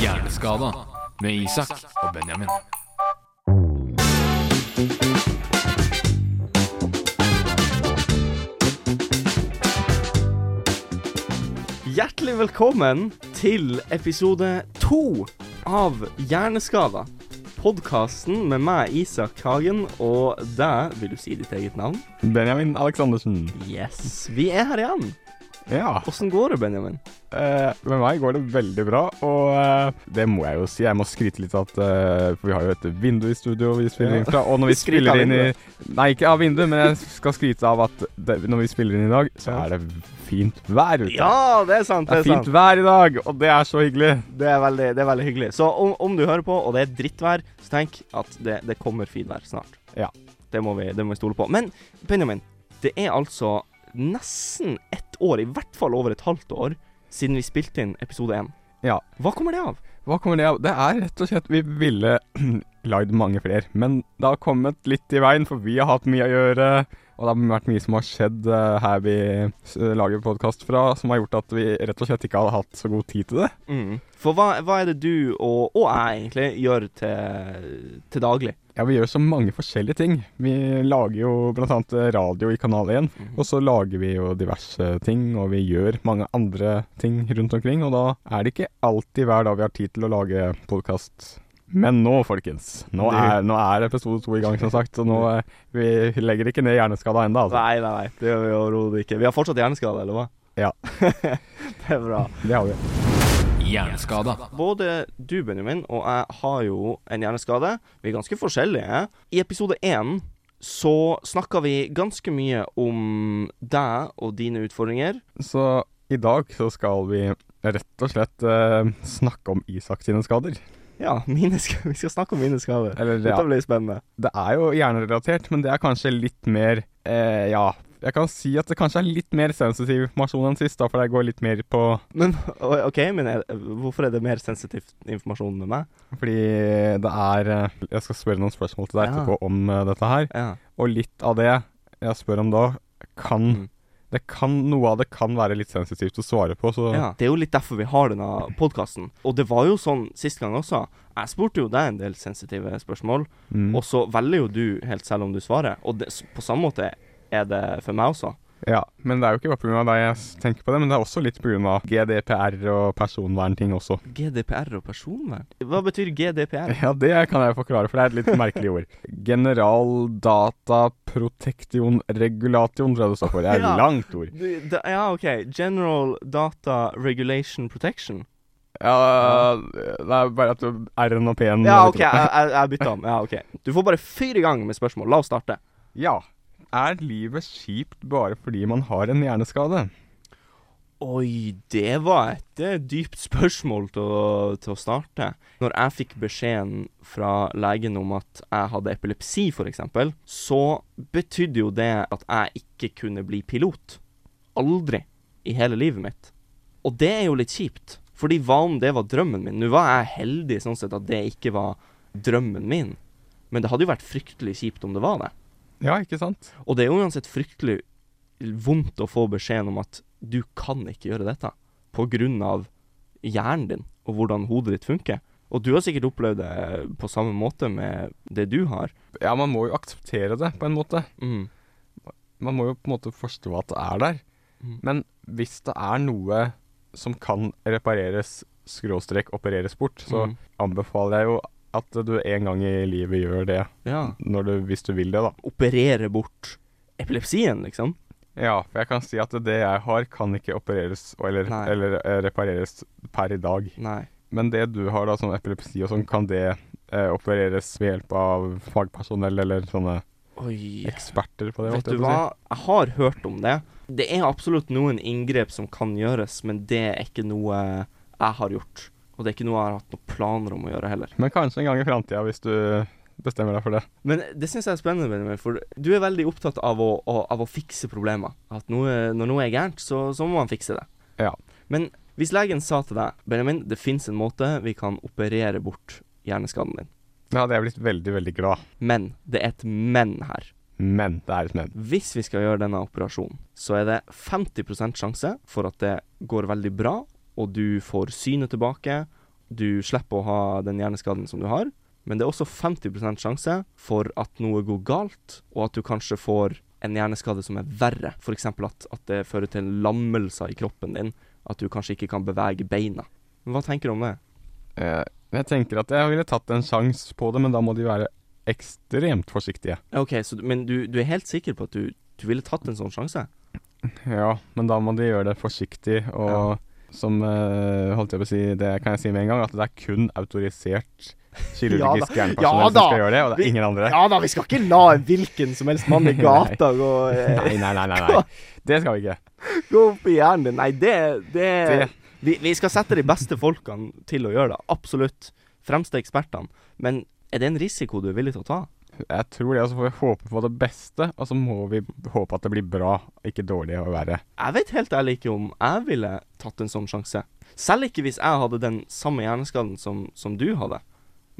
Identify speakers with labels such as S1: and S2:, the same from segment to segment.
S1: Hjerneskada med Isak og Benjamin.
S2: Hjertelig velkommen til episode to av Hjerneskada. Podkasten med meg, Isak Hagen, og deg Vil du si ditt eget navn?
S3: Benjamin Aleksandersen.
S2: Yes. Vi er her igjen.
S3: Ja.
S2: Åssen går det, Benjamin?
S3: Eh, med meg går det veldig bra, og eh, det må jeg jo si. Jeg må skryte litt av at eh, For vi har jo et vindu i studio vi spiller inn fra. Og når vi
S2: Skryt av
S3: spiller inn i Nei, ikke av vinduet, men jeg skal skryte av at det, når vi spiller inn i dag, så
S2: Ja.
S3: er det fint vær ute.
S2: Ja, det er sant.
S3: det er fint vær i dag, og det er så hyggelig.
S2: Det er veldig, det er veldig hyggelig. Så om, om du hører på, og det er drittvær, så tenk at det, det kommer fint vær snart.
S3: Ja.
S2: Det må, vi, det må vi stole på. Men Benjamin, det er altså nesten ett år, i hvert fall over et halvt år, siden vi spilte inn episode én.
S3: Ja.
S2: Hva kommer det av?
S3: Hva kommer det av? Det er rett og slett Vi ville lagd mange flere, men det har kommet litt i veien, for vi har hatt mye å gjøre. Og det har vært mye som har skjedd eh, her vi s- lager podkast fra, som har gjort at vi rett og slett ikke har hatt så god tid til det.
S2: For hva, hva er det du og, og jeg egentlig gjør til, til daglig?
S3: Ja, Vi gjør så mange forskjellige ting. Vi lager jo bl.a. radio i Kanal 1. Og så lager vi jo diverse ting, og vi gjør mange andre ting rundt omkring. Og da er det ikke alltid hver dag vi har tid til å lage podkast. Men nå, folkens. Nå er, nå er episode to i gang, som sagt. Så nå eh, Vi legger ikke ned hjerneskada ennå, altså.
S2: Nei, nei, nei, det gjør vi overhodet ikke. Vi har fortsatt hjerneskade, eller hva?
S3: Ja.
S2: det er bra.
S3: Det har vi.
S1: Hjerneskada.
S2: Både du, Benjamin, og jeg har jo en hjerneskade. Vi er ganske forskjellige. I episode én så snakka vi ganske mye om deg og dine utfordringer.
S3: Så i dag så skal vi rett og slett eh, snakke om Isak sine skader.
S2: Ja, mine sk vi skal snakke om mine skader.
S3: Eller ja,
S2: Dette blir spennende.
S3: det er jo hjernerelatert, men det er kanskje litt mer eh, Ja, jeg kan si at det kanskje er litt mer sensitiv informasjon enn sist, da, for det går litt mer på
S2: Men o- OK, men er, hvorfor er det mer sensitiv informasjon med meg?
S3: Fordi det er eh, Jeg skal spørre noen spørsmål til deg
S2: Ja.
S3: etterpå om eh, dette her,
S2: Ja.
S3: og litt av det jeg spør om da, kan
S2: Mm.
S3: det kan, Noe av det kan være litt sensitivt å svare på, så
S2: Ja. Det er jo litt derfor vi har denne podkasten. Og det var jo sånn sist gang også. Jeg spurte jo deg en del sensitive spørsmål,
S3: mm,
S2: og så velger jo du helt selv om du svarer. Og det, s- på samme måte er det for meg også.
S3: ja. Men det er jo ikke bare pga. deg jeg s- tenker på det, men det er også litt pga. GDPR og personvernting også.
S2: GDPR og personvern? Hva betyr GDPR?
S3: Ja, det kan jeg forklare, for det er et litt merkelig ord. General data protection regulation, tror jeg det står for. Det er et
S2: Ja.
S3: langt ord.
S2: Du, da, ja, OK. General Data Regulation Protection.
S3: Ja, det er bare at du- R-en og P-en
S2: Ja, OK, jeg, jeg, jeg bytter om. Ja, ok Du får bare fyre i gang med spørsmål. La oss starte.
S3: Ja. Er livet kjipt bare fordi man har en hjerneskade?
S2: Oi, det var et det er et dypt spørsmål til å, til å starte. Når jeg fikk beskjeden fra legen om at jeg hadde epilepsi, f.eks., så betydde jo det at jeg ikke kunne bli pilot. Aldri i hele livet mitt. Og det er jo litt kjipt, fordi hva om det var drømmen min? Nå var jeg heldig sånn sett at det ikke var drømmen min, men det hadde jo vært fryktelig kjipt om det var det.
S3: Ja, ikke sant?
S2: Og det er jo uansett fryktelig vondt å få beskjeden om at du kan ikke gjøre dette på grunn av hjernen din og hvordan hodet ditt funker. Og du har sikkert opplevd det på samme måte med det du har.
S3: Ja, man må jo akseptere det, på en måte.
S2: Mm.
S3: Man må jo på en måte forstå at det er der.
S2: Mm.
S3: Men hvis det er noe som kan repareres, skråstrek opereres bort, så
S2: Mm.
S3: anbefaler jeg jo at du en gang i livet gjør det.
S2: ja.
S3: når du, hvis du vil det, da.
S2: Operere bort epilepsien, liksom.
S3: Ja, for jeg kan si at det jeg har, kan ikke opereres og- eller,
S2: Nei.
S3: eller eh, repareres per i dag.
S2: Nei.
S3: Men det du har, da, som epilepsi og sånn, kan det eh, opereres ved hjelp av fagpersonell eller sånne
S2: Oi.
S3: eksperter på det?
S2: Vet
S3: holdt jeg
S2: du
S3: på å si.
S2: hva, jeg har hørt om det. Det er absolutt noen inngrep som kan gjøres, men det er ikke noe jeg har gjort. Og det er ikke noe jeg har hatt noen planer om å gjøre heller.
S3: Men kanskje en gang i framtida, hvis du bestemmer deg for det.
S2: Men det syns jeg er spennende, Benjamin, for du er veldig opptatt av å, å, av å fikse problemer. At noe, når noe er gærent, så, så må man fikse det.
S3: Ja.
S2: Men hvis legen sa til deg Benjamin, det fins en måte vi kan operere bort hjerneskaden din.
S3: Da hadde jeg blitt veldig, veldig glad.
S2: Men det er et men her.
S3: Men det er et men.
S2: Hvis vi skal gjøre denne operasjonen, så er det 50 sjanse for at det går veldig bra, og du får synet tilbake, Du slipper å ha den hjerneskaden som du har, men det er også 50 sjanse for at noe går galt, og at du kanskje får en hjerneskade som er verre. F.eks. At, at det fører til lammelser i kroppen din. At du kanskje ikke kan bevege beina. Men Hva tenker du om det?
S3: Eh, jeg tenker at jeg ville tatt en sjanse på det, men da må de være ekstremt forsiktige.
S2: Ok, så, du- Men du, du er helt sikker på at du, du ville tatt en sånn sjanse?
S3: Ja, men da må de gjøre det forsiktig, og
S2: Ja.
S3: som eh, holdt jeg på å si, det kan jeg si med en gang, at det er kun autorisert kirurgisk hjernepersonell
S2: Ja
S3: som
S2: da.
S3: skal gjøre det, og det
S2: Vi-
S3: er ingen andre.
S2: Ja da, vi skal ikke la hvilken som helst mann i gata gå, eh,
S3: Nei, nei, nei, nei, nei. Det skal vi ikke.
S2: gå opp i hjernen din. Nei, det, det,
S3: Det-
S2: Vi, vi skal sette de beste folkene til å gjøre det. Absolutt. Fremste ekspertene. Men er det en risiko du er villig til å ta?
S3: Jeg tror det, og så får vi håpe på det beste, og så må vi håpe at det blir bra, ikke dårlig og verre.
S2: Jeg vet helt ærlig ikke om jeg ville tatt en sånn sjanse. Selv ikke hvis jeg hadde den samme hjerneskaden som, som du hadde.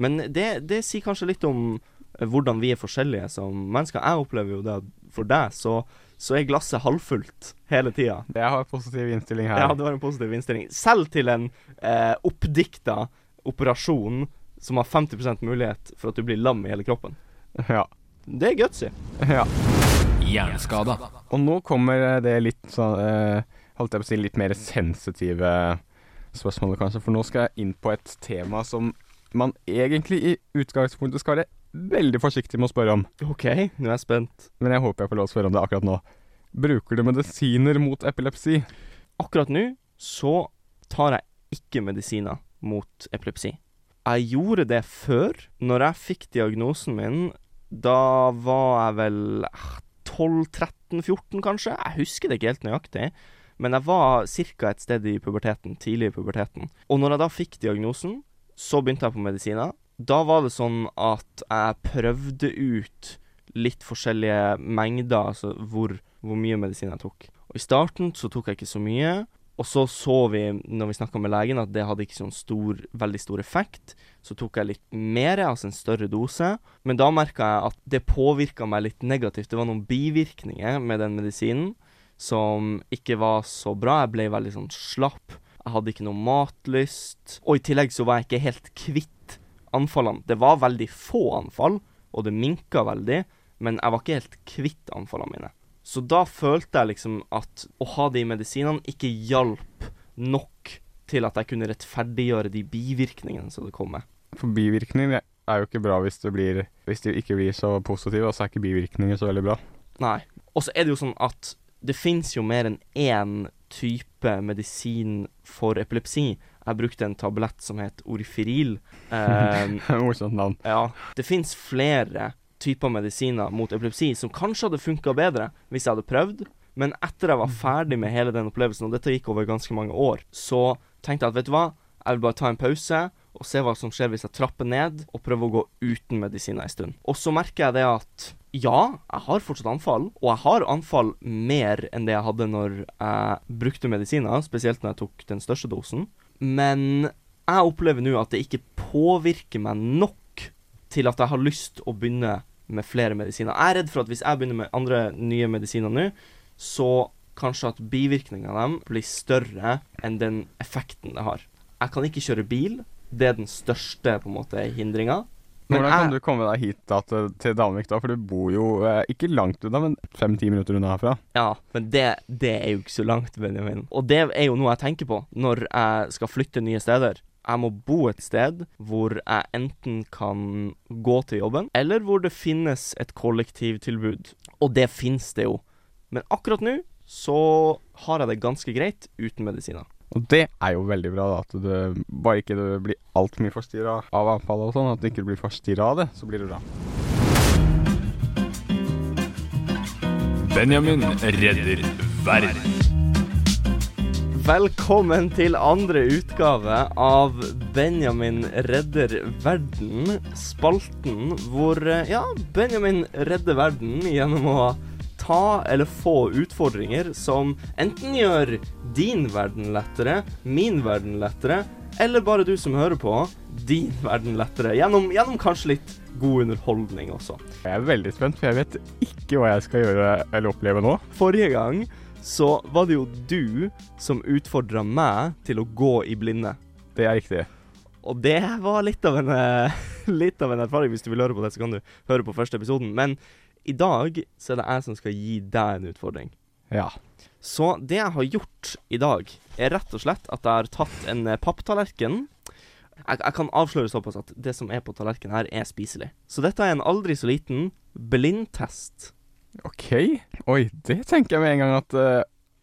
S2: Men det, det sier kanskje litt om eh, hvordan vi er forskjellige som mennesker. Jeg opplever jo det at for deg, så, så er glasset halvfullt hele tida.
S3: Jeg har en positiv innstilling her.
S2: Ja, det var en positiv innstilling. Selv til en eh, oppdikta operasjon som har 50 mulighet for at du blir lam i hele kroppen.
S3: Ja.
S2: Det er gutsy.
S3: ja.
S1: Hjerneskada.
S3: Og nå kommer eh, det litt sånn eh, Holdt jeg på å si litt mer sensitive spørsmålet, kanskje. For nå skal jeg inn på et tema som man egentlig i utgangspunktet skal være veldig forsiktig med å spørre om.
S2: OK, nå er jeg spent.
S3: Men jeg håper jeg får lov å spørre om det akkurat nå. Bruker du medisiner mot epilepsi?
S2: Akkurat nå så tar jeg ikke medisiner mot epilepsi. Jeg gjorde det før. Når jeg fikk diagnosen min, da var jeg vel ah, 12-13-14, kanskje. Jeg husker det ikke helt nøyaktig. Men jeg var ca. et sted i puberteten, tidlig i puberteten. Og når jeg da fikk diagnosen, så begynte jeg på medisiner. Da var det sånn at jeg prøvde ut litt forskjellige mengder, altså hvor, hvor mye medisin jeg tok. Og I starten så tok jeg ikke så mye, og så så vi når vi snakka med legen at det hadde ikke sånn stor, veldig stor effekt. Så tok jeg litt mer, altså en større dose, men da merka jeg at det påvirka meg litt negativt. Det var noen bivirkninger med den medisinen som ikke var så bra. Jeg ble veldig sånn slapp. Jeg hadde ikke noe matlyst. Og i tillegg så var jeg ikke helt kvitt anfallene. Det var veldig få anfall, og det minka veldig, men jeg var ikke helt kvitt anfallene mine. Så da følte jeg liksom at å ha de medisinene ikke hjalp nok til at jeg kunne rettferdiggjøre de bivirkningene som det kom med.
S3: For bivirkninger er jo ikke bra hvis du, blir, hvis du ikke blir så positiv, og så er ikke bivirkninger så veldig bra.
S2: Nei. Og så er det jo sånn at det fins jo mer enn én type medisin for epilepsi. Jeg brukte en tablett som het Orifiril. Eh,
S3: Morsomt navn.
S2: Ja. Det fins flere typer medisiner mot epilepsi som kanskje hadde funka bedre hvis jeg hadde prøvd, men etter jeg var ferdig med hele den opplevelsen, og dette gikk over ganske mange år, så tenkte jeg at vet du hva, jeg vil bare ta en pause og se hva som skjer hvis jeg trapper ned og prøver å gå uten medisiner en stund. Og så merker jeg det at ja, jeg har fortsatt anfall, og jeg har anfall mer enn det jeg hadde når jeg brukte medisiner, spesielt når jeg tok den største dosen, men jeg opplever nå at det ikke påvirker meg nok til at jeg har lyst å begynne med flere medisiner. Jeg er redd for at hvis jeg begynner med andre nye medisiner nå, så kanskje at bivirkningene av dem blir større enn den effekten det har. Jeg kan ikke kjøre bil. Det er den største på en måte hindringa. Men
S3: Hvordan kan
S2: jeg-
S3: du komme deg hit da, til, til Danvik, da? For du bor jo eh, ikke langt unna, men fem-ti minutter unna herfra.
S2: Ja, men det, det er jo ikke så langt, Benjamin. Og det er jo noe jeg tenker på når jeg skal flytte nye steder. Jeg må bo et sted hvor jeg enten kan gå til jobben, eller hvor det finnes et kollektivtilbud. Og det finnes det jo. Men akkurat nå så har jeg det ganske greit uten medisiner.
S3: Og det er jo veldig bra, da. At du bare ikke du blir altfor mye forstyrra av anfallet og sånn. At du ikke blir forstyrra av det, så blir det bra.
S1: Benjamin redder verden.
S2: Velkommen til andre utgave av Benjamin redder verden, spalten hvor eh, ja, Benjamin redder verden gjennom å ta eller få utfordringer som enten gjør din verden lettere, min verden lettere, eller bare du som hører på, din verden lettere. Gjennom, gjennom kanskje litt god underholdning også.
S3: Jeg er veldig spent, for jeg vet ikke hva jeg skal gjøre eller oppleve nå.
S2: Forrige gang så var det jo du som utfordra meg til å gå i blinde.
S3: Det er riktig.
S2: Og det var litt av, en, eh, litt av en erfaring. Hvis du vil høre på det, så kan du høre på første episoden. Men i dag så er det jeg som skal gi deg en utfordring.
S3: Ja.
S2: Så det jeg har gjort i dag, er rett og slett at jeg har tatt en eh, papptallerken. Jeg, jeg kan avsløre såpass at det som er på tallerkenen her, er spiselig. Så dette er en aldri så liten blindtest.
S3: Ok. Oi, det tenker jeg med en gang at eh,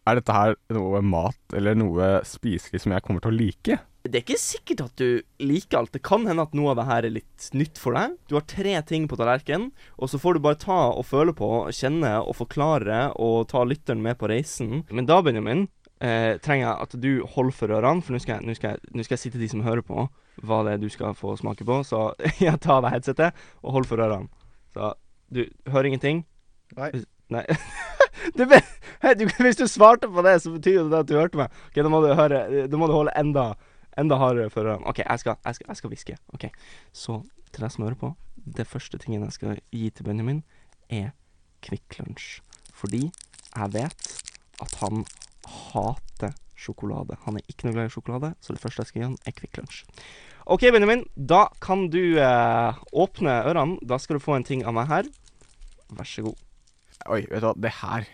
S3: Er dette her noe mat eller noe spiselig som jeg kommer til å like?
S2: Det er ikke sikkert at du liker alt. Det kan hende at noe av det her er litt nytt for deg. Du har tre ting på tallerkenen, og så får du bare ta og føle på, kjenne og forklare og ta lytteren med på reisen. Men da, Benjamin, eh, trenger jeg at du holder for ørene, for nå skal, jeg- nå skal, jeg- nå skal jeg si til de som hører på, hva det er du skal få smake på. Så jeg tar av deg headsetet og hold for ørene. Så du hører ingenting.
S3: Nei.
S2: Nei. Du, be- Hei, du, hvis du svarte på det, så betyr jo det at du hørte meg. Ok, Da må du, høre, da må du holde enda Enda hardere for ørene. eh, OK, jeg skal jeg skal- jeg skal hviske. Ok, Så til deg som hører på, det første tingen jeg skal gi til Benjamin, er Kvikk Lunsj. Fordi jeg vet at han hater sjokolade. Han er ikke noe glad i sjokolade, så det første jeg skal gi han, er Kvikk Lunsj. OK, Benjamin, da kan du eh, åpne ørene. Da skal du få en ting av meg her. Vær så god.
S3: Oi, vet du hva, det her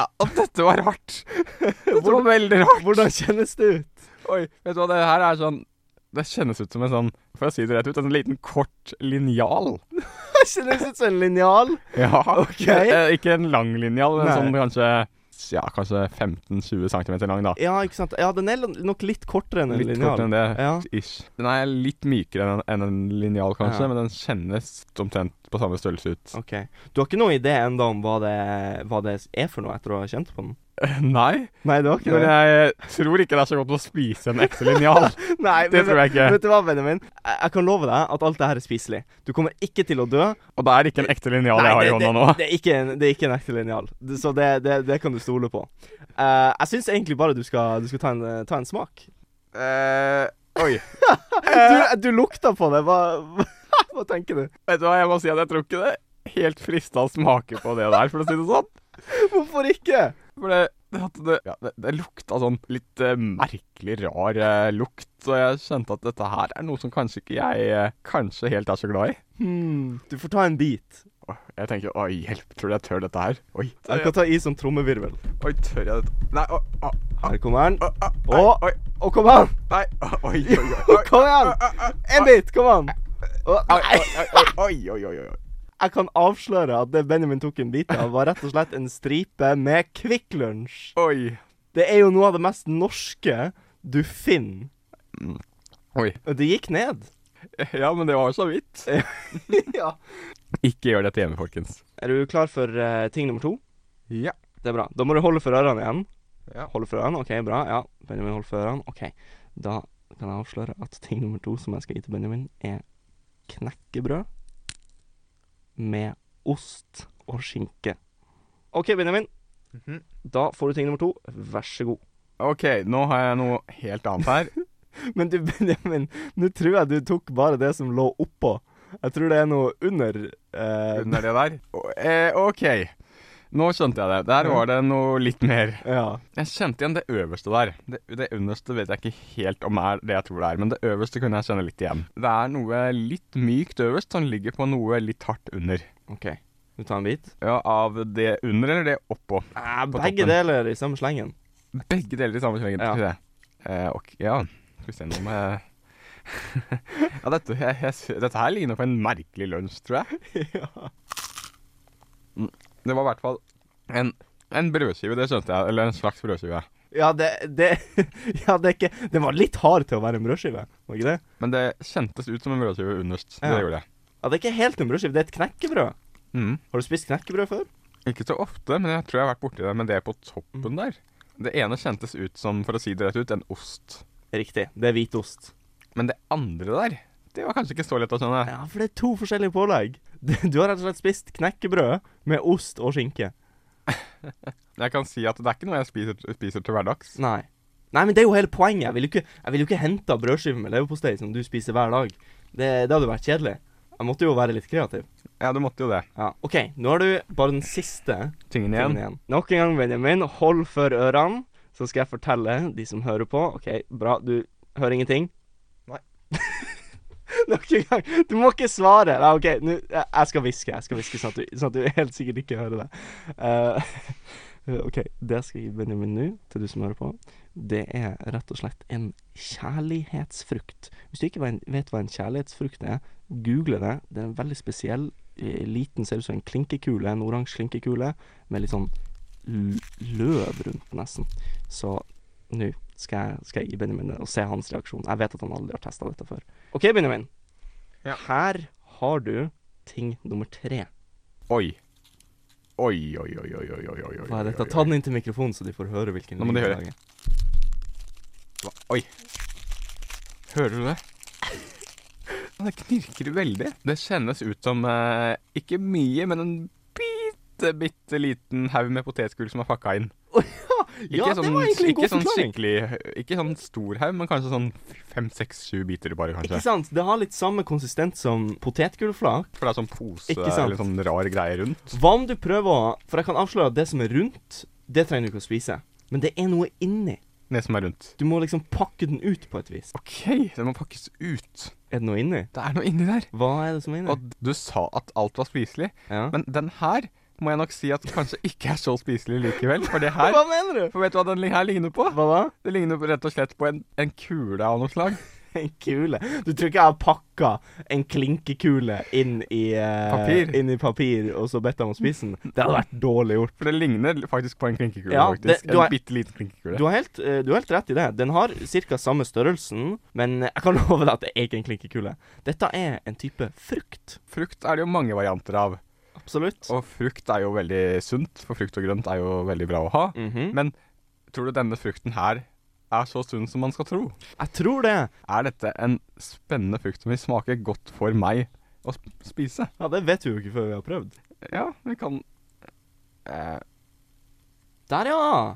S3: ja, Dette var hardt! Dette var veldig hardt.
S2: Hvordan kjennes det ut?
S3: Oi, vet du hva, det her er sånn Det kjennes ut som en sånn, for å si det rett ut, en sånn liten kort linjal.
S2: Det kjennes ut som en linjal.
S3: Ja,
S2: Ok.
S3: Eh, Ikke en lang linjal, men
S2: Nei.
S3: sånn kanskje Ja, kanskje 15-20 cm lang, da.
S2: Ja, ikke sant. Ja, den er nok litt kortere enn en
S3: Litt
S2: linjal.
S3: kortere enn det.
S2: Ja.
S3: Ish. Den er litt mykere enn enn en linjal, kanskje,
S2: Ja.
S3: men den kjennes omtrent på samme størrelse ut.
S2: Ok. Du har ikke noen idé enda om hva det, hva det er for noe etter å ha kjent på den?
S3: Nei,
S2: Nei, du har
S3: men jeg tror ikke det er så godt å spise en ekte linjal.
S2: Nei,
S3: Det tror jeg ikke.
S2: Vet du hva, Benjamin? Jeg, jeg kan love deg at alt det her er spiselig. Du kommer ikke til å dø.
S3: Og det er ikke en ekte linjal jeg har i
S2: det,
S3: hånda
S2: det,
S3: nå.
S2: det, er ikke en, det er ikke en ekte linjal, Det- så det, det, det kan du stole på. Eh, jeg syns egentlig bare du skal, du skal ta, en, eh, ta en smak. eh,
S3: oi.
S2: Du,
S3: Eh.
S2: du lukta på det. Hva, hva, hva tenker du?
S3: Vet du hva, jeg må si at jeg tror ikke det er helt frista å smake på det der, for å si det sånn.
S2: Hvorfor ikke?
S3: For det, det, at det, ja, det, det lukta sånn litt eh, merkelig rar eh, lukt, så jeg kjente at dette her er noe som kanskje ikke jeg eh, kanskje helt er så glad i.
S2: Hmm, du får ta en bit.
S3: Åh, Jeg tenker oi, hjelp, tror du jeg tør dette her? Oi,
S2: Jeg kan ta i som trommevirvel.
S3: oi tør jeg dette? Nei, å, å,
S2: Her kommer den.
S3: å, å,
S2: Å,
S3: oi,
S2: å, kom an!
S3: nei, å, oi, oi, oi, oi.
S2: Kom igjen! En bit, kom an! Å,
S3: Oi,
S2: nei.
S3: oi, oi, oi, oi, oi.
S2: Jeg kan avsløre at det Benjamin tok en bit av, var rett og slett en stripe med Kvikk Lunsj.
S3: Oi.
S2: Det er jo noe av det mest norske du finner.
S3: Oi.
S2: Og det gikk ned.
S3: Ja, men det var så vidt.
S2: ja.
S3: Ikke gjør dette hjemme, folkens.
S2: Er du klar for eh, ting nummer to?
S3: Ja.
S2: Det er bra. Da må du holde for ørene igjen.
S3: Ja.
S2: Holde for ørene, ok, bra. Ja, Benjamin holder for ørene. Ok, da kan jeg avsløre at ting nummer to som jeg skal gi til Benjamin, er knekkebrød med ost og skinke. Ok, Benjamin.
S3: Mhm.
S2: Da får du ting nummer to. Vær så god.
S3: Ok, nå har jeg noe helt annet her.
S2: Men du, Benjamin, nå tror jeg du tok bare det som lå oppå. Jeg tror det er noe under
S3: under det der. Og, Eh, ok, nå skjønte jeg det. Der var det noe litt mer.
S2: Ja.
S3: Jeg kjente igjen det øverste der. Det, det underste vet jeg ikke helt om er det jeg tror det er, men det øverste kunne jeg kjenne litt igjen. Det er noe litt mykt øverst som ligger på noe litt hardt under.
S2: OK. Du tar en bit?
S3: Ja, Av det under eller det oppå. På
S2: Ah, Begge
S3: toppen.
S2: deler i samme slengen.
S3: Begge deler i samme slengen.
S2: Ja.
S3: Skal vi se. Eh, ok, ja, skal vi se noe med Ja, dette, jeg, jeg, dette her ligner på en merkelig lunsj, tror jeg. Mm, Det var i hvert fall en, en brødskive, det skjønte jeg. Eller en slags brødskive.
S2: Ja, det, det Ja, det er ikke Den var litt hard til å være en brødskive, var ikke det?
S3: Men det kjentes ut som en brødskive underst.
S2: Ja.
S3: Det gjorde det.
S2: Ja, det er ikke helt en brødskive, det er et knekkebrød.
S3: Mm.
S2: Har du spist knekkebrød før?
S3: Ikke så ofte, men jeg tror jeg har vært borti det med det på
S2: Mm.
S3: toppen der. Det ene kjentes ut som, for å si det rett ut, en ost.
S2: Riktig. Det er hvitost.
S3: Men det andre der, det var kanskje ikke så lett å skjønne.
S2: Ja, for det er to forskjellige pålegg. Du har rett og slett spist knekkebrød med ost og skinke.
S3: Jeg kan si at det er ikke noe jeg spiser, spiser til hverdags.
S2: Nei. Nei, men det er jo hele poenget. Jeg ville jo ikke, jeg vil jo ikke henta brødskive med leverpostei som du spiser hver dag. Det, det hadde vært kjedelig. Jeg måtte jo være litt kreativ.
S3: Ja, du måtte jo det.
S2: Ja, OK, nå har du bare den siste
S3: Tingen
S2: tingen igjen. Nok en gang, Benjamin, hold for ørene, så skal jeg fortelle de som hører på. OK, bra, du hører ingenting?
S3: Nei.
S2: Nok en gang. Du må ikke svare. Nei, OK, nå jeg- Jeg skal hviske, jeg skal hviske sånn at, du- sånn at du helt sikkert ikke hører det. Eh, OK, det skal jeg gi Benjamin nå, til du som hører på. Det er rett og slett en kjærlighetsfrukt. Hvis du ikke vet- vet hva en kjærlighetsfrukt er, google det. Det er en veldig spesiell, eh, liten, ser ut som en klinkekule, en oransje klinkekule, med litt sånn l- løv rundt nesten. Så nå skal jeg, skal jeg gi Benjamin det og se hans reaksjon. Jeg vet at han aldri har testa dette før. OK, Benjamin.
S3: Ja.
S2: Her har du ting nummer tre.
S3: Oi. Oi, oi, oi, oi, oi, oi, oi.
S2: Hva er dette?
S3: oi,
S2: Ta
S3: oi.
S2: den inn til mikrofonen, så de får høre hvilken
S3: Nå må de
S2: lyd
S3: høre.
S2: lager.
S3: Hva- Oi. Hører du det? Det knirker veldig. Det kjennes ut som eh, ikke mye, men en bitte, bitte liten haug med potetgull som er pakka inn. Ikke
S2: Ja, det
S3: sånn,
S2: var egentlig en god
S3: ikke sånn
S2: forklaring.
S3: skikkelig Ikke sånn stor haug, men kanskje sånn fem, seks, sju biter bare,
S2: Ikke
S3: kanskje.
S2: sant? Det har litt samme konsistens som potetgullflak.
S3: For det er sånn pose
S2: Ikke sant.
S3: eller sånn rar greie rundt.
S2: Hva om du prøver å For jeg kan avsløre at det som er rundt, det trenger du ikke å spise. Men det er noe inni.
S3: Det som er rundt.
S2: Du må liksom pakke den ut på et vis.
S3: OK, det må pakkes ut.
S2: Er det noe inni?
S3: Det er noe inni der.
S2: Hva er det som er inni?
S3: Og du sa at alt var spiselig,
S2: Ja.
S3: men den her må jeg nok si at kanskje ikke er så spiselig likevel. For det her
S2: Hva mener du?
S3: For vet du hva den li- her ligner på?
S2: Hva da?
S3: Det ligner på- rett og slett på en, en kule av noe slag.
S2: En kule. Du tror ikke jeg har pakka en klinkekule inn i eh,
S3: Papir.
S2: Inn i papir og så bedt dem å spise den? Det hadde vært dårlig gjort.
S3: For det ligner faktisk på en klinkekule.
S2: Ja,
S3: faktisk.
S2: det- du
S3: en
S2: har-
S3: bitte liten klinkekule.
S2: Du har helt, eh, du har helt rett i det. Den har ca. samme størrelsen, men jeg kan love deg at det er ikke en klinkekule. Dette er en type frukt.
S3: Frukt er det jo mange varianter av.
S2: Absolutt.
S3: Og frukt er jo veldig sunt, for frukt og grønt er jo veldig bra å ha.
S2: Mhm.
S3: Men tror du denne frukten her er så sunn som man skal tro?
S2: Jeg tror det.
S3: Er dette en spennende frukt som vil smake godt for meg å sp- spise?
S2: Ja, Det vet vi jo ikke før vi har prøvd.
S3: Ja, vi kan eh,
S2: Der, ja.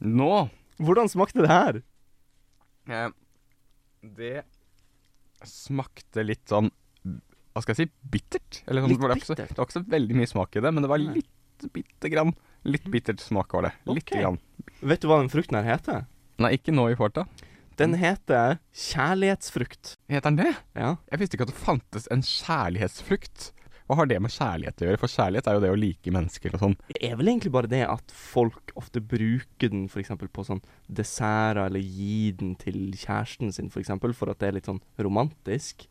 S3: Nå
S2: Hvordan smakte det her?
S3: Eh, Det smakte litt sånn Hva skal jeg si? Bittert? Eller sånn,
S2: Litt
S3: var det, ikke så,
S2: bittert.
S3: det var ikke så veldig mye smak i det, men det var
S2: Nei.
S3: litt bitte grann. Litt bittert smak var det. Litt
S2: Ok.
S3: grann.
S2: Vet du hva den frukten her heter?
S3: Nei, ikke nå i farta.
S2: Den heter kjærlighetsfrukt.
S3: Heter den det?
S2: Ja.
S3: Jeg visste ikke at det fantes en kjærlighetsfrukt. Hva har det med kjærlighet å gjøre? For kjærlighet er jo det å like mennesker og sånn.
S2: Det er vel egentlig bare det at folk ofte bruker den for eksempel på sånn desserter, eller gir den til kjæresten sin for eksempel, for at det er litt sånn romantisk,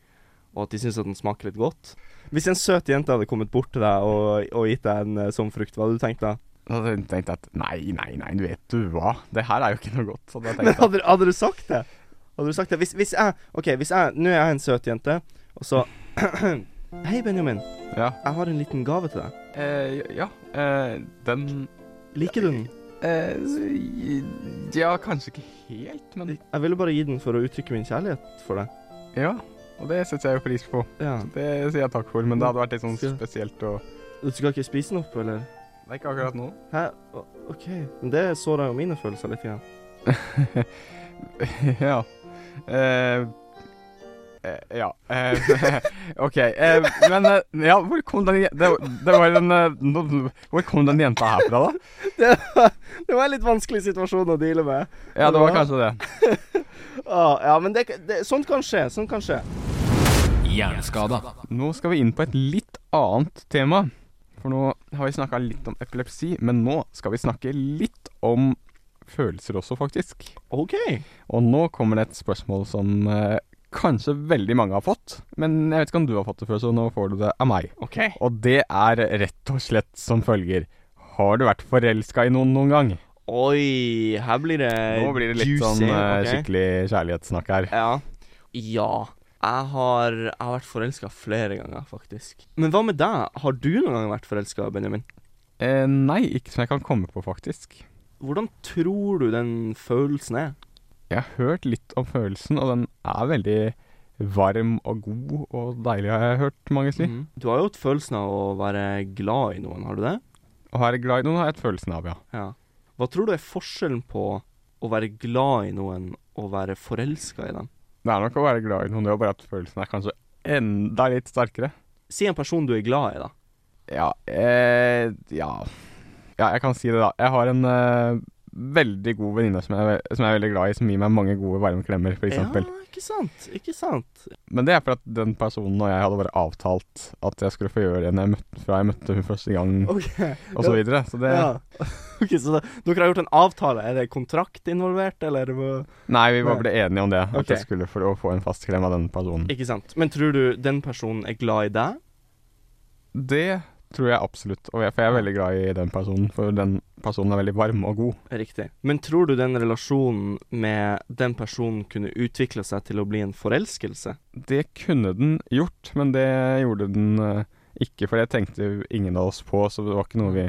S2: og at de syns at den smaker litt godt. Hvis en søt jente hadde kommet bort til deg og, og gitt deg en eh, sånn frukt, hva hadde du tenkt da?
S3: Da tenkte jeg at nei, nei, nei, du vet du hva. Det her er jo ikke noe godt. Så da tenkte
S2: Men
S3: jeg
S2: hadde, hadde du sagt det? Hadde du sagt det? Hvis, hvis jeg OK, hvis jeg Nå er jeg en søt jente, og så Hei, Benjamin.
S3: Ja.
S2: Jeg har en liten gave til deg.
S3: eh, ja eh, den
S2: Liker du den?
S3: Eh, så- ja, kanskje ikke helt, men
S2: Jeg ville bare gi den for å uttrykke min kjærlighet for deg.
S3: Ja, og det setter jeg jo pris på.
S2: Ja.
S3: Det sier jeg takk for, men det hadde vært litt sånn
S2: Skal-
S3: spesielt å
S2: Du skal ikke spise den opp, eller?
S3: Nei, ikke akkurat nå.
S2: Hæ? O- OK. Men det såra jo mine følelser litt. Igjen.
S3: ja. Eh, eh, ja. Eh, OK. Eh, men eh, ja, hvor kom den je- Det, det var en eh, nå- Hvor kom den jenta her fra, da?
S2: Det var, det var en litt vanskelig situasjon å deale med.
S3: Ja, det var kanskje det.
S2: Ah, ja, men det, det, sånt kan skje. Sånt kan skje.
S1: Hjerneskada.
S3: Nå skal vi inn på et litt annet tema. For nå har vi snakka litt om epilepsi, men nå skal vi snakke litt om følelser også, faktisk.
S2: OK.
S3: Og nå kommer det et spørsmål som eh, kanskje veldig mange har fått. Men jeg vet ikke om du har fått det før, så nå får du det av meg.
S2: OK.
S3: Og det er rett og slett som følger. Har du vært forelska i noen noen gang?
S2: Oi, her blir det
S3: Nå blir det litt
S2: juicy,
S3: sånn eh,
S2: ok?
S3: skikkelig kjærlighetssnakk her.
S2: Ja. Ja. Jeg har, jeg har vært forelska flere ganger, faktisk. Men hva med deg? Har du noen gang vært forelska, Benjamin?
S3: Eh, nei, ikke som jeg kan komme på, faktisk.
S2: Hvordan tror du den følelsen er?
S3: Jeg har hørt litt om følelsen, og den er veldig varm og god og deilig, har jeg hørt mange si.
S2: Mhm. Du har jo hatt følelsen av å være glad i noen, har du det?
S3: Og er jeg glad i noen, har jeg hatt følelsen av, ja.
S2: Ja. Hva tror du er forskjellen på å være glad i noen og være forelska i dem?
S3: Det er nok å være glad i noen, det er bare at følelsen er kanskje enda litt sterkere.
S2: Si en person du er glad i, da.
S3: Ja, eh, ja. ja, jeg kan si det da. Jeg har en eh, veldig god venninne som, jeg- som jeg er veldig glad i, som gir meg mange gode varme klemmer, f.eks.
S2: Ja,
S3: eksempel
S2: ikke sant? Ikke sant?
S3: Men det er fordi at den personen og jeg hadde bare avtalt at jeg skulle få gjøre det når jeg møtte, fra jeg møtte hun første gang,
S2: OK.
S3: og så videre. Så det
S2: Ja. Ok, så da, dere har gjort en avtale. Er det kontrakt involvert, eller hva-
S3: Nei, vi bare ble enige om det. At
S2: Ok.
S3: jeg skulle få, å få en fast klem av den personen.
S2: Ikke sant. Men tror du den personen er glad i deg?
S3: Det tror jeg absolutt, og jeg, for jeg er veldig glad i den personen. For den personen er veldig varm og god.
S2: Riktig. Men tror du den relasjonen med den personen kunne utvikle seg til å bli en forelskelse?
S3: Det kunne den gjort, men det gjorde den eh, ikke, for det tenkte jo ingen av oss på, så det var ikke noe vi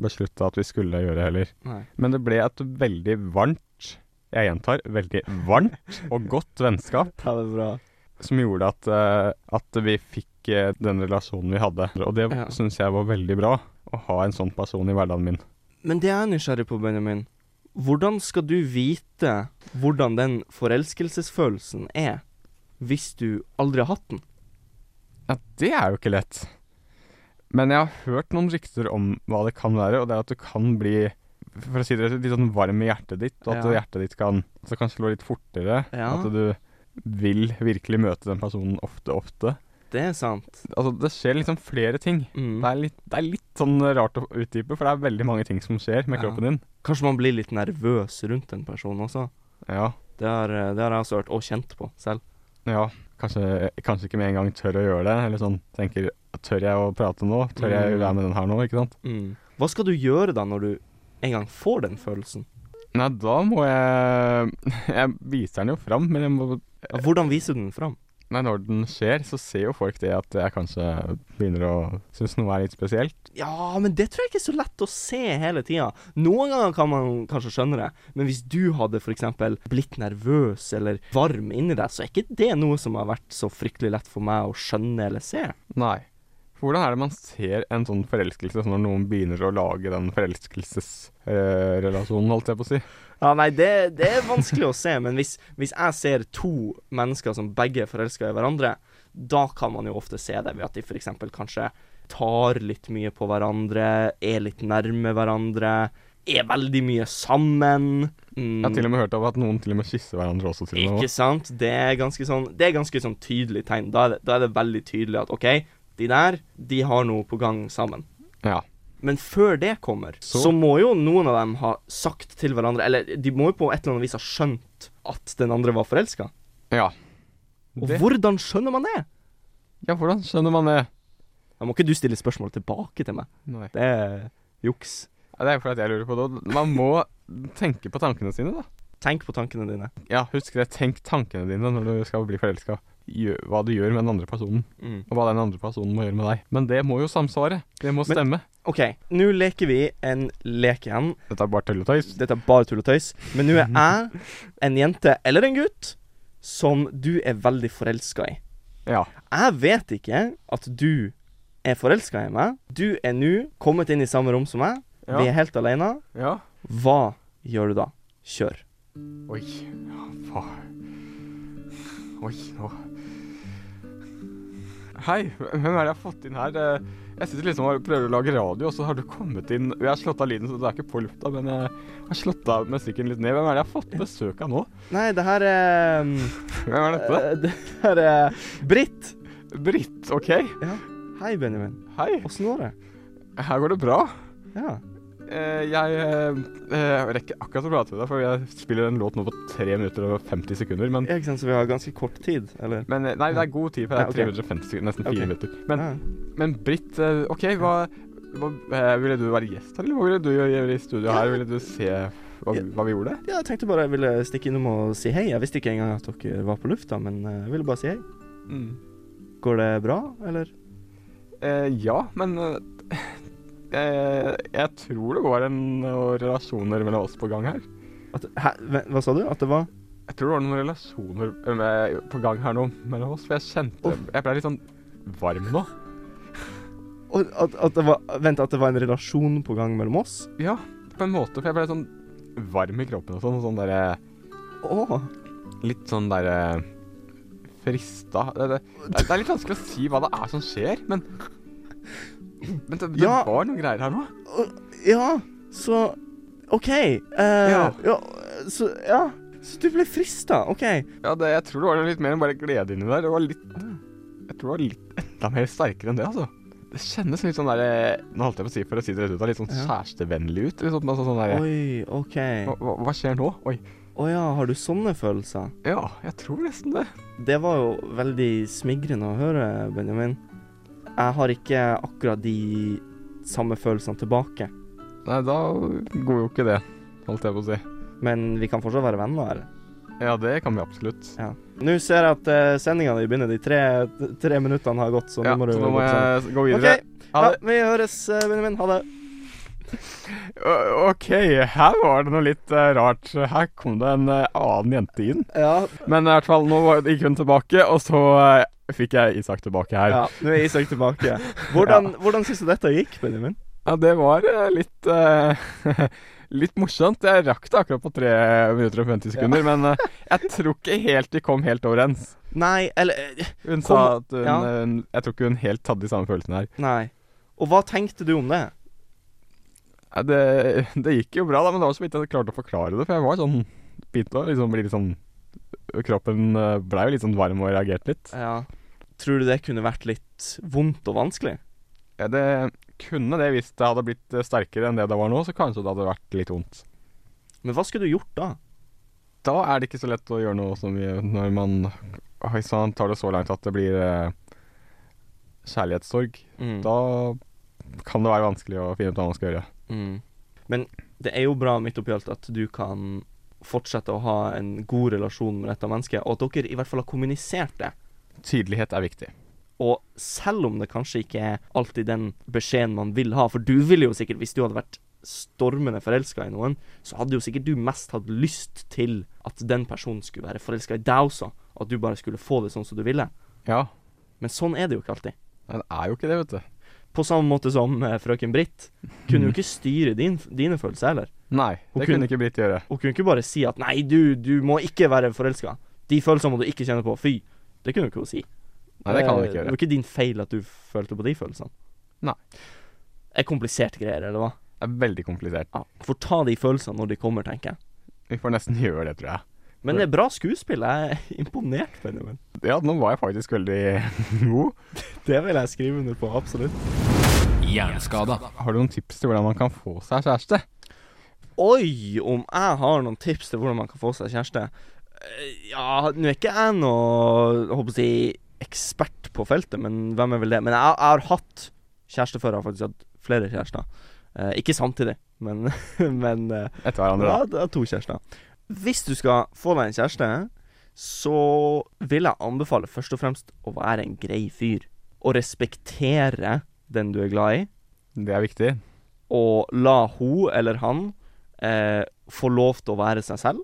S3: beslutta at vi skulle gjøre heller.
S2: Nei.
S3: Men det ble et veldig varmt, jeg gjentar, veldig varmt og godt vennskap
S2: Det er bra.
S3: som gjorde at, eh, at vi fikk eh, den relasjonen vi hadde. Og det
S2: Ja.
S3: synes syns jeg var veldig bra, å ha en sånn person i hverdagen min.
S2: Men det jeg er nysgjerrig på, Benjamin Hvordan skal du vite hvordan den forelskelsesfølelsen er, hvis du aldri har hatt den?
S3: Ja, det er jo ikke lett. Men jeg har hørt noen rykter om hva det kan være, og det er at du kan bli for å si det rett ut, litt sånn varm i hjertet ditt, og at
S2: Ja.
S3: hjertet ditt kan, altså kan slå litt fortere.
S2: Ja.
S3: At du vil virkelig møte den personen ofte, ofte.
S2: Det er sant.
S3: Altså, det skjer liksom flere ting.
S2: Mm.
S3: Det er, litt, det er litt sånn rart å utdype, for det er veldig mange ting som skjer med
S2: Ja.
S3: kroppen din.
S2: Kanskje man blir litt nervøs rundt en person også.
S3: Ja,
S2: Det har, eh, det har jeg også hørt, og kjent på selv.
S3: ja. Kanskje, kanskje ikke med en gang tør å gjøre det, eller sånn tenker, tør jeg å prate nå? Tør jeg
S2: Mm.
S3: være med den her nå, ikke sant?
S2: Mm. Hva skal du gjøre da, når du en gang får den følelsen?
S3: Nei, da må jeg Jeg viser den jo fram, men jeg må
S2: Hvordan viser du den fram?
S3: Nei, når den skjer, så ser jo folk det at jeg kanskje begynner å synes noe er litt spesielt.
S2: Ja, men det tror jeg ikke er så lett å se hele tida. Noen ganger kan man kanskje skjønne det, men hvis du hadde f.eks. blitt nervøs eller varm inni deg, så er ikke det noe som har vært så fryktelig lett for meg å skjønne eller se.
S3: Nei. For Hvordan er det man ser en sånn forelskelse når noen begynner å lage den forelskelsesrelasjonen, holdt jeg på å si?
S2: Ja, nei, det, det er vanskelig å se, men hvis, hvis jeg ser to mennesker som begge er forelska i hverandre, da kan man jo ofte se det ved at de f.eks. kanskje tar litt mye på hverandre, er litt nærme hverandre, er veldig mye sammen. Mm.
S3: Jeg har til og med hørt av at noen til og med kysser hverandre også, til og
S2: Ikke
S3: med.
S2: sant? Det er ganske sånn Det er ganske sånn tydelig tegn. Da er, det, da er det veldig tydelig at OK, de der, de har noe på gang sammen.
S3: Ja.
S2: Men før det kommer, så.
S3: Så?
S2: må jo noen av dem ha sagt til hverandre Eller de må jo på et eller annet vis ha skjønt at den andre var forelska.
S3: Ja.
S2: Og
S3: Det,
S2: hvordan skjønner man det?
S3: ja, hvordan skjønner man det?
S2: Da må ikke du stille spørsmål tilbake til meg.
S3: Nei.
S2: Det er juks.
S3: Ja, Det er jo fordi at jeg lurer på det. og Man må tenke på tankene sine, da.
S2: Tenk på tankene dine.
S3: Ja, husk det. Tenk tankene dine når du skal bli forelska. Gjør- Hva du gjør med den andre personen,
S2: Mm.
S3: og hva den andre personen må gjøre med deg. Men det må jo samsvare. Det må
S2: Men-
S3: stemme.
S2: OK, nå leker vi en lek igjen.
S3: Dette er bare tull og tøys.
S2: Dette er bare tull og tøys. Men nå er jeg en jente eller en gutt som du er veldig forelska i.
S3: Ja.
S2: Jeg vet ikke at du er forelska i meg. Du er nå kommet inn i samme rom som meg.
S3: Ja.
S2: Vi er helt alene.
S3: ja.
S2: Hva gjør du da? Kjør.
S3: Oi. Ja, faen. Oi, nå Hei, hvem er det jeg har fått inn her? Eh, Jeg sitter liksom og prøver å lage radio, og så har du kommet inn Jeg har slått av lyden, så det er ikke på lufta, men eh, jeg har slått av musikken litt ned. Hvem er det jeg har fått besøk av nå?
S2: Nei, det her er um,
S3: Hvem er dette?
S2: eh, Det her er Britt.
S3: Britt, OK?
S2: Hei, Benjamin.
S3: Hei.
S2: Åssen går det?
S3: Her går det bra.
S2: Ja.
S3: Eh, jeg eh, eh, rekker akkurat å prate med deg, for jeg spiller en låt nå på 3 minutter og 50 sekunder. Men,
S2: Ikke sant, så vi har ganske kort tid, eller?
S3: men eh, nei, det er god tid, for det
S2: Ja, ok.
S3: er 3 minutter og 50 sekunder, nesten 4
S2: Ok.
S3: minutter. Men,
S2: Ja.
S3: men Britt, eh, OK, hva, hva eh, Ville du være gjest her, eller hva ville du gjøre i studio her? Ville du se hva, hva vi gjorde?
S2: Ja, jeg tenkte bare jeg ville stikke innom og si hei. Jeg visste ikke engang at dere var på lufta, men eh, jeg ville bare si hei. Går det bra, eller?
S3: Eh, ja, men eh, eh, jeg tror det går en noen relasjoner mellom oss på gang her.
S2: At, hæ, Vent, hva sa du? At det var
S3: Jeg tror det var noen relasjoner eh, med, på gang her nå mellom oss, for jeg kjente Jeg ble litt sånn varm nå.
S2: Å, at, at det var Vent, at det var en relasjon på gang mellom oss?
S3: Ja, på en måte, for jeg ble sånn varm i kroppen og sånn, og sånn derre
S2: Å!
S3: Litt sånn derre frista det, det, det er litt vanskelig å si hva det er som skjer, men Men det, det
S2: Ja.
S3: var noen greier her nå.
S2: Ja, så OK. eh,
S3: Ja.
S2: ja. Så ja. Så du ble frista. OK.
S3: Ja, det, jeg tror det var litt mer enn bare glede inni der. Det var litt Jeg tror det var litt enda mer sterkere enn det, altså. Det kjennes litt sånn der Nå holdt jeg på å si for å si det rett ut, da, litt sånn
S2: Ja.
S3: kjærestevennlig ut. Liksom, altså, sånn der,
S2: Oi, OK.
S3: hva, hva- hva skjer nå? Oi.
S2: Å ja, har du sånne følelser?
S3: Ja, jeg tror nesten det.
S2: Det var jo veldig smigrende å høre, Benjamin. Jeg har ikke akkurat de samme følelsene tilbake.
S3: Nei, da går jo ikke det, holdt jeg på å si.
S2: Men vi kan fortsatt være venner. eller?
S3: Ja, det kan vi absolutt.
S2: Ja. Nå ser jeg at uh, sendinga di begynner. De tre, tre minuttene har gått, så
S3: Ja,
S2: nå må du
S3: så nå må
S2: gå
S3: jeg
S2: på sånn.
S3: gå videre.
S2: OK,
S3: Ha
S2: ja,
S3: det.
S2: vi høres, eh, Benjamin. Ha det.
S3: Ø- OK, her var det noe litt eh, rart. Her kom det en eh, annen jente inn.
S2: Ja,
S3: Men i hvert fall, nå var- gikk hun tilbake, og så eh, fikk jeg Isak tilbake her.
S2: ja.
S3: Ja,
S2: Nå er Isak tilbake. Hvordan, hvordan syns du dette gikk, Benjamin?
S3: det var eh, litt eh, Litt morsomt. Jeg rakk det akkurat på 3 minutter og 50 sekunder, men eh, jeg tror ikke helt de kom helt overens.
S2: Nei, eller eh,
S3: Hun sa
S2: Kom-
S3: at hun
S2: ja.
S3: eh, Jeg tror ikke hun helt hadde de samme følelsene her.
S2: Nei. Og hva tenkte du om det?
S3: Ja, det, det gikk jo bra, da, men det var så vidt jeg klarte å forklare det. For jeg var sånn begynte å liksom bli litt sånn Kroppen eh, ble jo litt sånn varm og reagerte litt.
S2: Ja. Tror du det kunne vært litt vondt og vanskelig?
S3: Ja, det kunne det hvis det hadde blitt eh, sterkere enn det det var nå, så kanskje det hadde vært litt vondt.
S2: Men hva skulle du gjort da?
S3: Da er det ikke så lett å gjøre noe som vi, når man oi, sann, tar det så langt at det blir eh, kjærlighetssorg. Da kan det være vanskelig å finne ut hva man skal gjøre.
S2: Mm. Men det er jo bra midt oppi alt at du kan fortsette å ha en god relasjon med dette mennesket, og at dere i hvert fall har kommunisert det.
S3: Tydelighet er viktig.
S2: Og selv om det kanskje ikke er alltid den beskjeden man vil ha, for du ville jo sikkert, hvis du hadde vært stormende forelska i noen, så hadde jo sikkert du mest hatt lyst til at den personen skulle være forelska i deg også, og at du bare skulle få det sånn som du ville.
S3: Ja,
S2: Men sånn er det jo ikke alltid.
S3: men det er jo ikke det, vet du.
S2: På samme måte som eh, frøken Britt kunne jo ikke styre din, dine følelser heller.
S3: Nei,
S2: Hun
S3: det
S2: kunne-
S3: kunne ikke Britt gjøre.
S2: Hun kunne ikke bare si at 'nei, du, du må ikke være forelska'. De følelsene må du ikke kjenne på. Fy. Det kunne hun ikke si.
S3: Nei, det kan hun
S2: Eh,
S3: ikke gjøre.
S2: Det var ikke din feil at du følte på de følelsene.
S3: Nei.
S2: Det er kompliserte greier, eller hva?
S3: Det er veldig komplisert.
S2: Ja. Får ta de følelsene når de kommer, tenker jeg.
S3: Vi får nesten gjøre det, tror jeg.
S2: Men det er bra skuespill. Jeg er imponert, Benjamin.
S3: Ja, nå var jeg faktisk veldig god.
S2: Det vil jeg skrive under på, absolutt.
S1: Hjerneskada.
S3: Har du noen tips til hvordan man kan få seg kjæreste?
S2: Oi, om jeg har noen tips til hvordan man kan få seg kjæreste. Eh, Ja, nå er ikke jeg noe jeg håper å si, ekspert på feltet, men hvem er vel det? Men jeg, jeg har hatt kjæreste før. Jeg har faktisk hatt flere kjærester. Eh, ikke samtidig, men, men eh, jeg
S3: Etter hverandre, da.
S2: har jeg har to kjærester. Hvis du skal få deg en kjæreste, så vil jeg anbefale først og fremst å være en grei fyr. Og respektere den du er glad i
S3: Det er viktig.
S2: og la hun eller han eh, få lov til å være seg selv,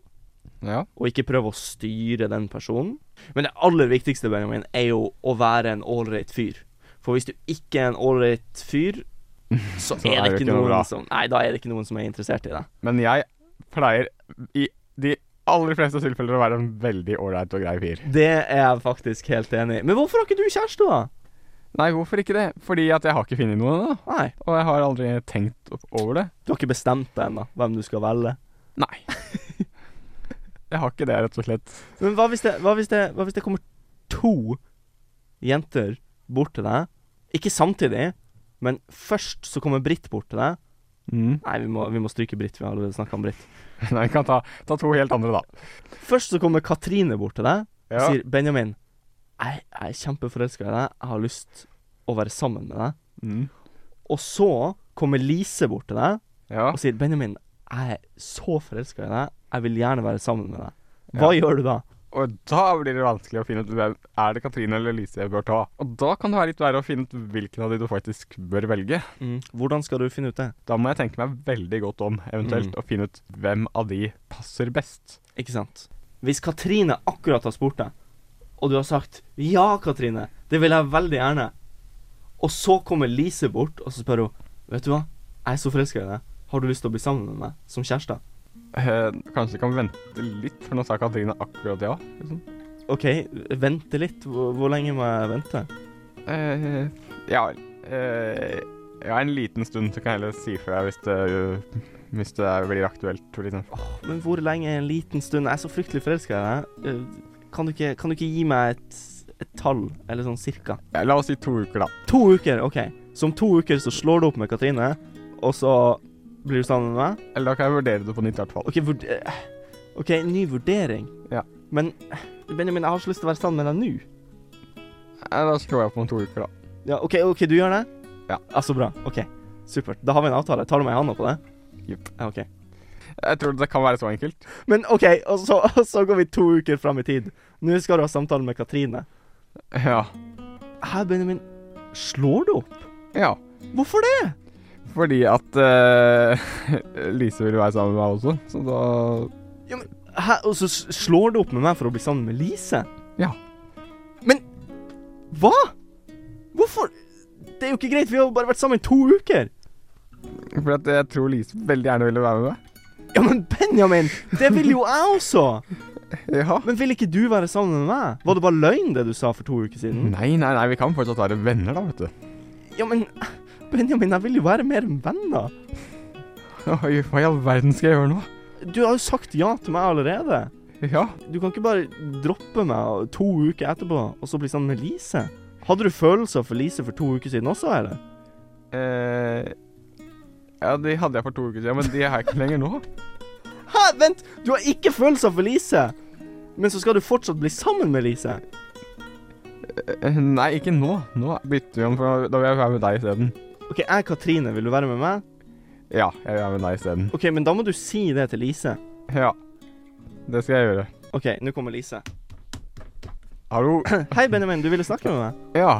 S3: Ja.
S2: og ikke prøve å styre den personen. Men det aller viktigste, Benjamin, er jo å være en ålreit fyr. For hvis du ikke er en ålreit fyr, så, er det ikke noen
S3: bra.
S2: som Nei, da er det ikke noen som er interessert i deg.
S3: Men jeg pleier i de aller fleste tilfeller å være en veldig ålreit og grei fyr.
S2: Det er jeg faktisk helt enig i. Men hvorfor har ikke du kjæreste, da?
S3: Nei, hvorfor ikke det? Fordi at jeg har ikke funnet noen ennå.
S2: Nei,
S3: Og jeg har aldri tenkt opp- over det.
S2: du har ikke bestemt deg ennå hvem du skal velge.
S3: Nei. Jeg har ikke det, rett og slett.
S2: Men hva hvis det, hva hvis det, hva hvis det kommer to jenter bort til deg? Ikke samtidig, men først så kommer Britt bort til deg.
S3: Mm.
S2: Nei, vi må, vi må stryke Britt. Vi har allerede snakka om Britt.
S3: Nei, vi kan ta, ta to helt andre, da.
S2: Først så kommer Katrine bort til deg og
S3: Ja.
S2: sier 'Benjamin, jeg, jeg er kjempeforelska i deg. Jeg har lyst å være sammen med deg.'
S3: Mm.
S2: Og så kommer Lise bort til deg
S3: Ja.
S2: og sier 'Benjamin, jeg er så forelska i deg. Jeg vil gjerne være sammen med deg.' Hva gjør du da?
S3: Og da blir det vanskelig å finne ut hvem er det Katrine eller Lise jeg bør ta. Og da kan det være litt verre å finne ut hvilken av de du faktisk bør velge.
S2: Mm. Hvordan skal du finne ut det?
S3: Da må jeg tenke meg veldig godt om, eventuelt,
S2: Mm.
S3: og finne ut hvem av de passer best.
S2: Ikke sant? Hvis Katrine akkurat har spurt deg, og du har sagt 'Ja, Katrine, det vil jeg veldig gjerne', og så kommer Lise bort og så spør hun 'Vet du hva, jeg er så forelska i deg. Har du lyst til å bli sammen med meg som kjæreste?'
S3: Eh, kanskje jeg kan vente litt, for nå sa Katrine akkurat ja. Liksom.
S2: OK, vente litt. Hvor, hvor lenge må jeg vente?
S3: Eh, ja eh, Ja, en liten stund, så kan jeg heller si fra hvis det, hvis det blir aktuelt. Liksom.
S2: Men hvor lenge er en liten stund? Jeg er så fryktelig forelska i deg. Eh, Kan du ikke, kan du ikke gi meg et, et tall, eller sånn cirka?
S3: Ja, La oss si to uker, da.
S2: To uker, OK. Så om to uker så slår du opp med Katrine, og så blir du sammen med meg?
S3: Eller da kan jeg vurdere det på nytt i hvert fall.
S2: OK, vurd eh, OK, ny vurdering.
S3: Ja.
S2: Men eh, Benjamin, jeg har ikke lyst til å være sammen med deg nå.
S3: Ja, da slår jeg på om to uker, da.
S2: Ja, OK, ok, du gjør det?
S3: Ja.
S2: Ah, så bra. OK. Supert. Da har vi en avtale. Tar du meg i handa på det?
S3: Jupp.
S2: Ja, OK.
S3: Jeg tror det kan være så enkelt.
S2: Men OK, og så, og så går vi to uker fram i tid. Nå skal du ha samtale med Katrine.
S3: Ja.
S2: Hæ, Benjamin? Slår du opp?
S3: ja.
S2: Hvorfor det?
S3: Fordi at eh, Lise vil være sammen med meg også, så da
S2: Hæ, og så s- slår du opp med meg for å bli sammen med Lise?
S3: Ja.
S2: Men hva? Hvorfor? Det er jo ikke greit, vi har jo bare vært sammen i to uker.
S3: For at jeg tror Lise veldig gjerne ville være med meg.
S2: Ja, men Benjamin, det vil jo jeg også.
S3: Ja.
S2: Men vil ikke du være sammen med meg? Var det bare løgn det du sa for to uker siden?
S3: Nei, nei, nei, vi kan fortsatt være venner, da, vet du.
S2: Ja, men Benjamin, jeg vil jo være mer enn venner.
S3: Hva i hva i all verden skal jeg gjøre nå?
S2: Du har jo sagt ja til meg allerede.
S3: Ja.
S2: Du kan ikke bare droppe meg to uker etterpå, og så bli sammen med Lise. Hadde du følelser for Lise for to uker siden også, eller?
S3: Eh, ja, de hadde jeg for to uker siden, men de har jeg ikke lenger nå.
S2: Hæ, vent! Du har ikke følelser for Lise! Men så skal du fortsatt bli sammen med Lise.
S3: Eh, Nei, ikke nå. Nå bytter vi om, for da vil jeg være med deg isteden.
S2: OK, jeg er Katrine, vil du være med meg?
S3: Ja, jeg vil være med deg isteden.
S2: OK, men da må du si det til Lise.
S3: Ja, det skal jeg gjøre.
S2: OK, nå kommer Lise.
S3: Hallo?
S2: Hei, Benjamin, du ville snakke med meg?
S3: Ja.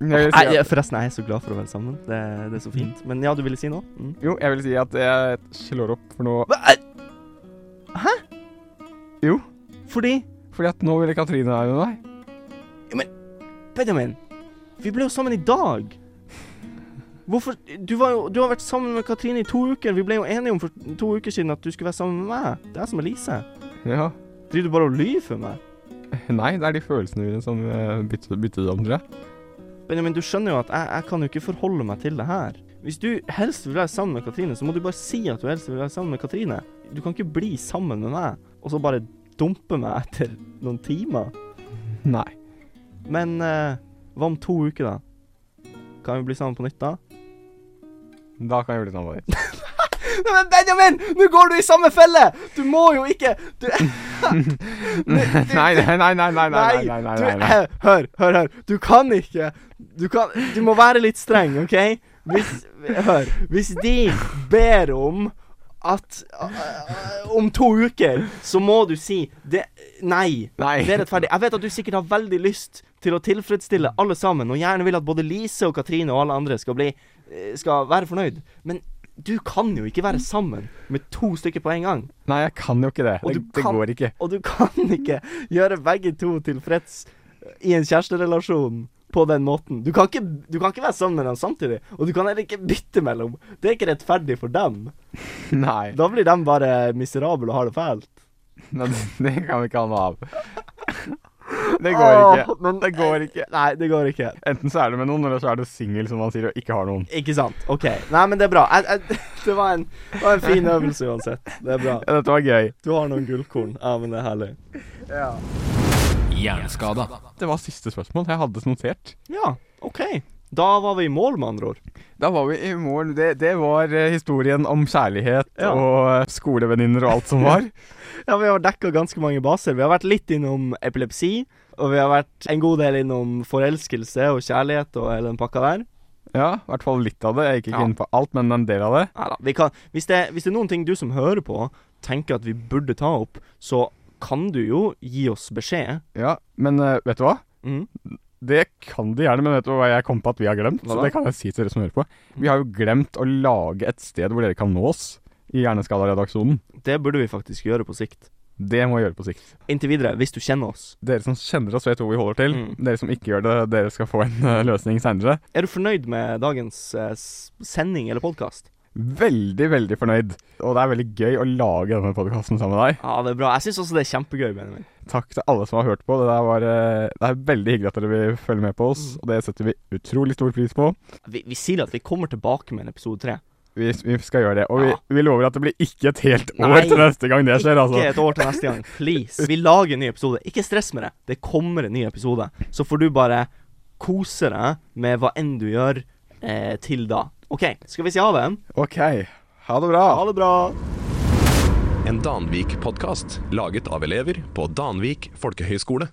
S3: Jeg vil
S2: Nei,
S3: si at,
S2: jeg- forresten, jeg er så glad for å være sammen. Det, det er så fint. Men ja, du ville si noe? Mm.
S3: jo, jeg vil si at jeg slår opp for noe
S2: Hva? eh, Hæ?
S3: Jo.
S2: Fordi
S3: Fordi at nå ville Katrine være med meg.
S2: Benjamin, vi ble jo sammen i dag. Hvorfor du, var jo, du har vært sammen med Katrine i to uker. Vi ble jo enige om for to uker siden at du skulle være sammen med meg. Det er jeg som er Lise.
S3: Ja.
S2: Driver du bare og lyver for meg?
S3: Nei, det er de følelsene mine som eh, bytter bytter det om, tror jeg.
S2: Benjamin, du skjønner jo at jeg, jeg kan jo ikke forholde meg til det her. Hvis du helst vil være sammen med Katrine, så må du bare si at du helst vil være sammen med Katrine. Du kan ikke bli sammen med meg, og så bare dumpe meg etter noen timer.
S3: Nei.
S2: Men eh, hva om to uker, da? Kan vi bli sammen på nytt da?
S3: Da kan jeg gjøre det samme. med deg.
S2: Nei, Men Benjamin, nå går du i samme felle! Du må jo ikke du,
S3: Nei, nei, nei, nei, nei, nei, nei, nei, nei,
S2: du,
S3: nei, nei.
S2: Hør, hør, hør. Du kan ikke Du kan Du må være litt streng, OK? Hvis Hør. Hvis de ber om at øh, Om to uker, så må du si det Nei.
S3: Nei.
S2: Det er rettferdig. Jeg vet at du sikkert har veldig lyst til å tilfredsstille alle sammen, og gjerne vil at både Lise og Katrine og alle andre skal bli eh, Skal være fornøyd, men du kan jo ikke være sammen med to stykker på en gang.
S3: Nei, jeg kan jo ikke det.
S2: Og
S3: Det,
S2: du
S3: det
S2: kan-
S3: går ikke.
S2: Og du kan ikke gjøre begge to tilfreds i en kjæresterelasjon på den måten. Du kan ikke, du kan ikke være sammen med dem samtidig, og du kan heller ikke bytte mellom. Det er ikke rettferdig for dem.
S3: Nei.
S2: Da blir de bare miserable og har det fælt.
S3: Nei, det kan vi ikke ha noe av. Det går ikke.
S2: Åh, men-
S3: Det går ikke.
S2: Nei, det går ikke.
S3: Enten så er du med noen, eller så er du singel, som man sier, og ikke har noen.
S2: Ikke sant. OK. Nei, men det er bra. Jeg, jeg, det, var en, det var en fin øvelse uansett. Det er bra.
S3: Ja, Dette var gøy.
S2: Du har noen gullkorn. Ja, men det er herlig.
S1: Hjerneskada.
S3: Det var siste spørsmål. Jeg hadde notert.
S2: Ja, OK. Da var vi i mål, med andre ord.
S3: Da var vi i morgen. Det, det var eh, historien om kjærlighet
S2: Ja.
S3: og eh, skolevenninner og alt som var.
S2: Ja, vi har dekka ganske mange baser. Vi har vært litt innom epilepsi, og vi har vært en god del innom forelskelse og kjærlighet og hele den pakka der.
S3: Ja, i hvert fall litt av det. Jeg gikk ikke
S2: Ja.
S3: inn på alt, men en del av det.
S2: Neida, vi kan, hvis, det, hvis det er noen ting du som hører på, tenker at vi burde ta opp, så kan du jo gi oss beskjed.
S3: Ja, Men eh, vet du hva?
S2: Mm.
S3: Det kan de gjerne, men vet du hva jeg kom på at vi har glemt?
S2: Hva
S3: Så
S2: da?
S3: det kan jeg si til dere som hører på. Vi har jo glemt å lage et sted hvor dere kan nå oss i Hjerneskada-redaksjonen.
S2: Det burde vi faktisk gjøre på sikt.
S3: Det må vi gjøre på sikt.
S2: Inntil videre, hvis du kjenner oss.
S3: Dere som kjenner oss, vet hvor vi holder til.
S2: Mm.
S3: Dere som ikke gjør det, dere skal få en eh, løsning seinere.
S2: Er du fornøyd med dagens eh, s- sending eller podkast?
S3: veldig, veldig fornøyd. Og det er veldig gøy å lage denne podkasten sammen med deg.
S2: Ja, det er bra. Jeg syns også det er kjempegøy, Benjamin.
S3: Takk til alle som har hørt på. Det, der var, eh, det er veldig hyggelig at dere vil følge med på oss,
S2: Mm.
S3: og det setter vi utrolig stor pris på.
S2: Vi, vi sier at vi kommer tilbake med en episode tre.
S3: Vi, vi skal gjøre det. Og vi,
S2: Ja.
S3: vi lover at det blir ikke et helt år
S2: Nei.
S3: til neste gang det skjer, altså.
S2: Ikke et år til neste gang. Please. Vi lager en ny episode. Ikke stress med det. Det kommer en ny episode. Så får du bare kose deg med hva enn du gjør eh, til da. OK, skal vi si ha det?
S3: OK. Ha det bra.
S2: Ha det bra.
S4: En Danvik-podkast laget av elever på Danvik folkehøgskole.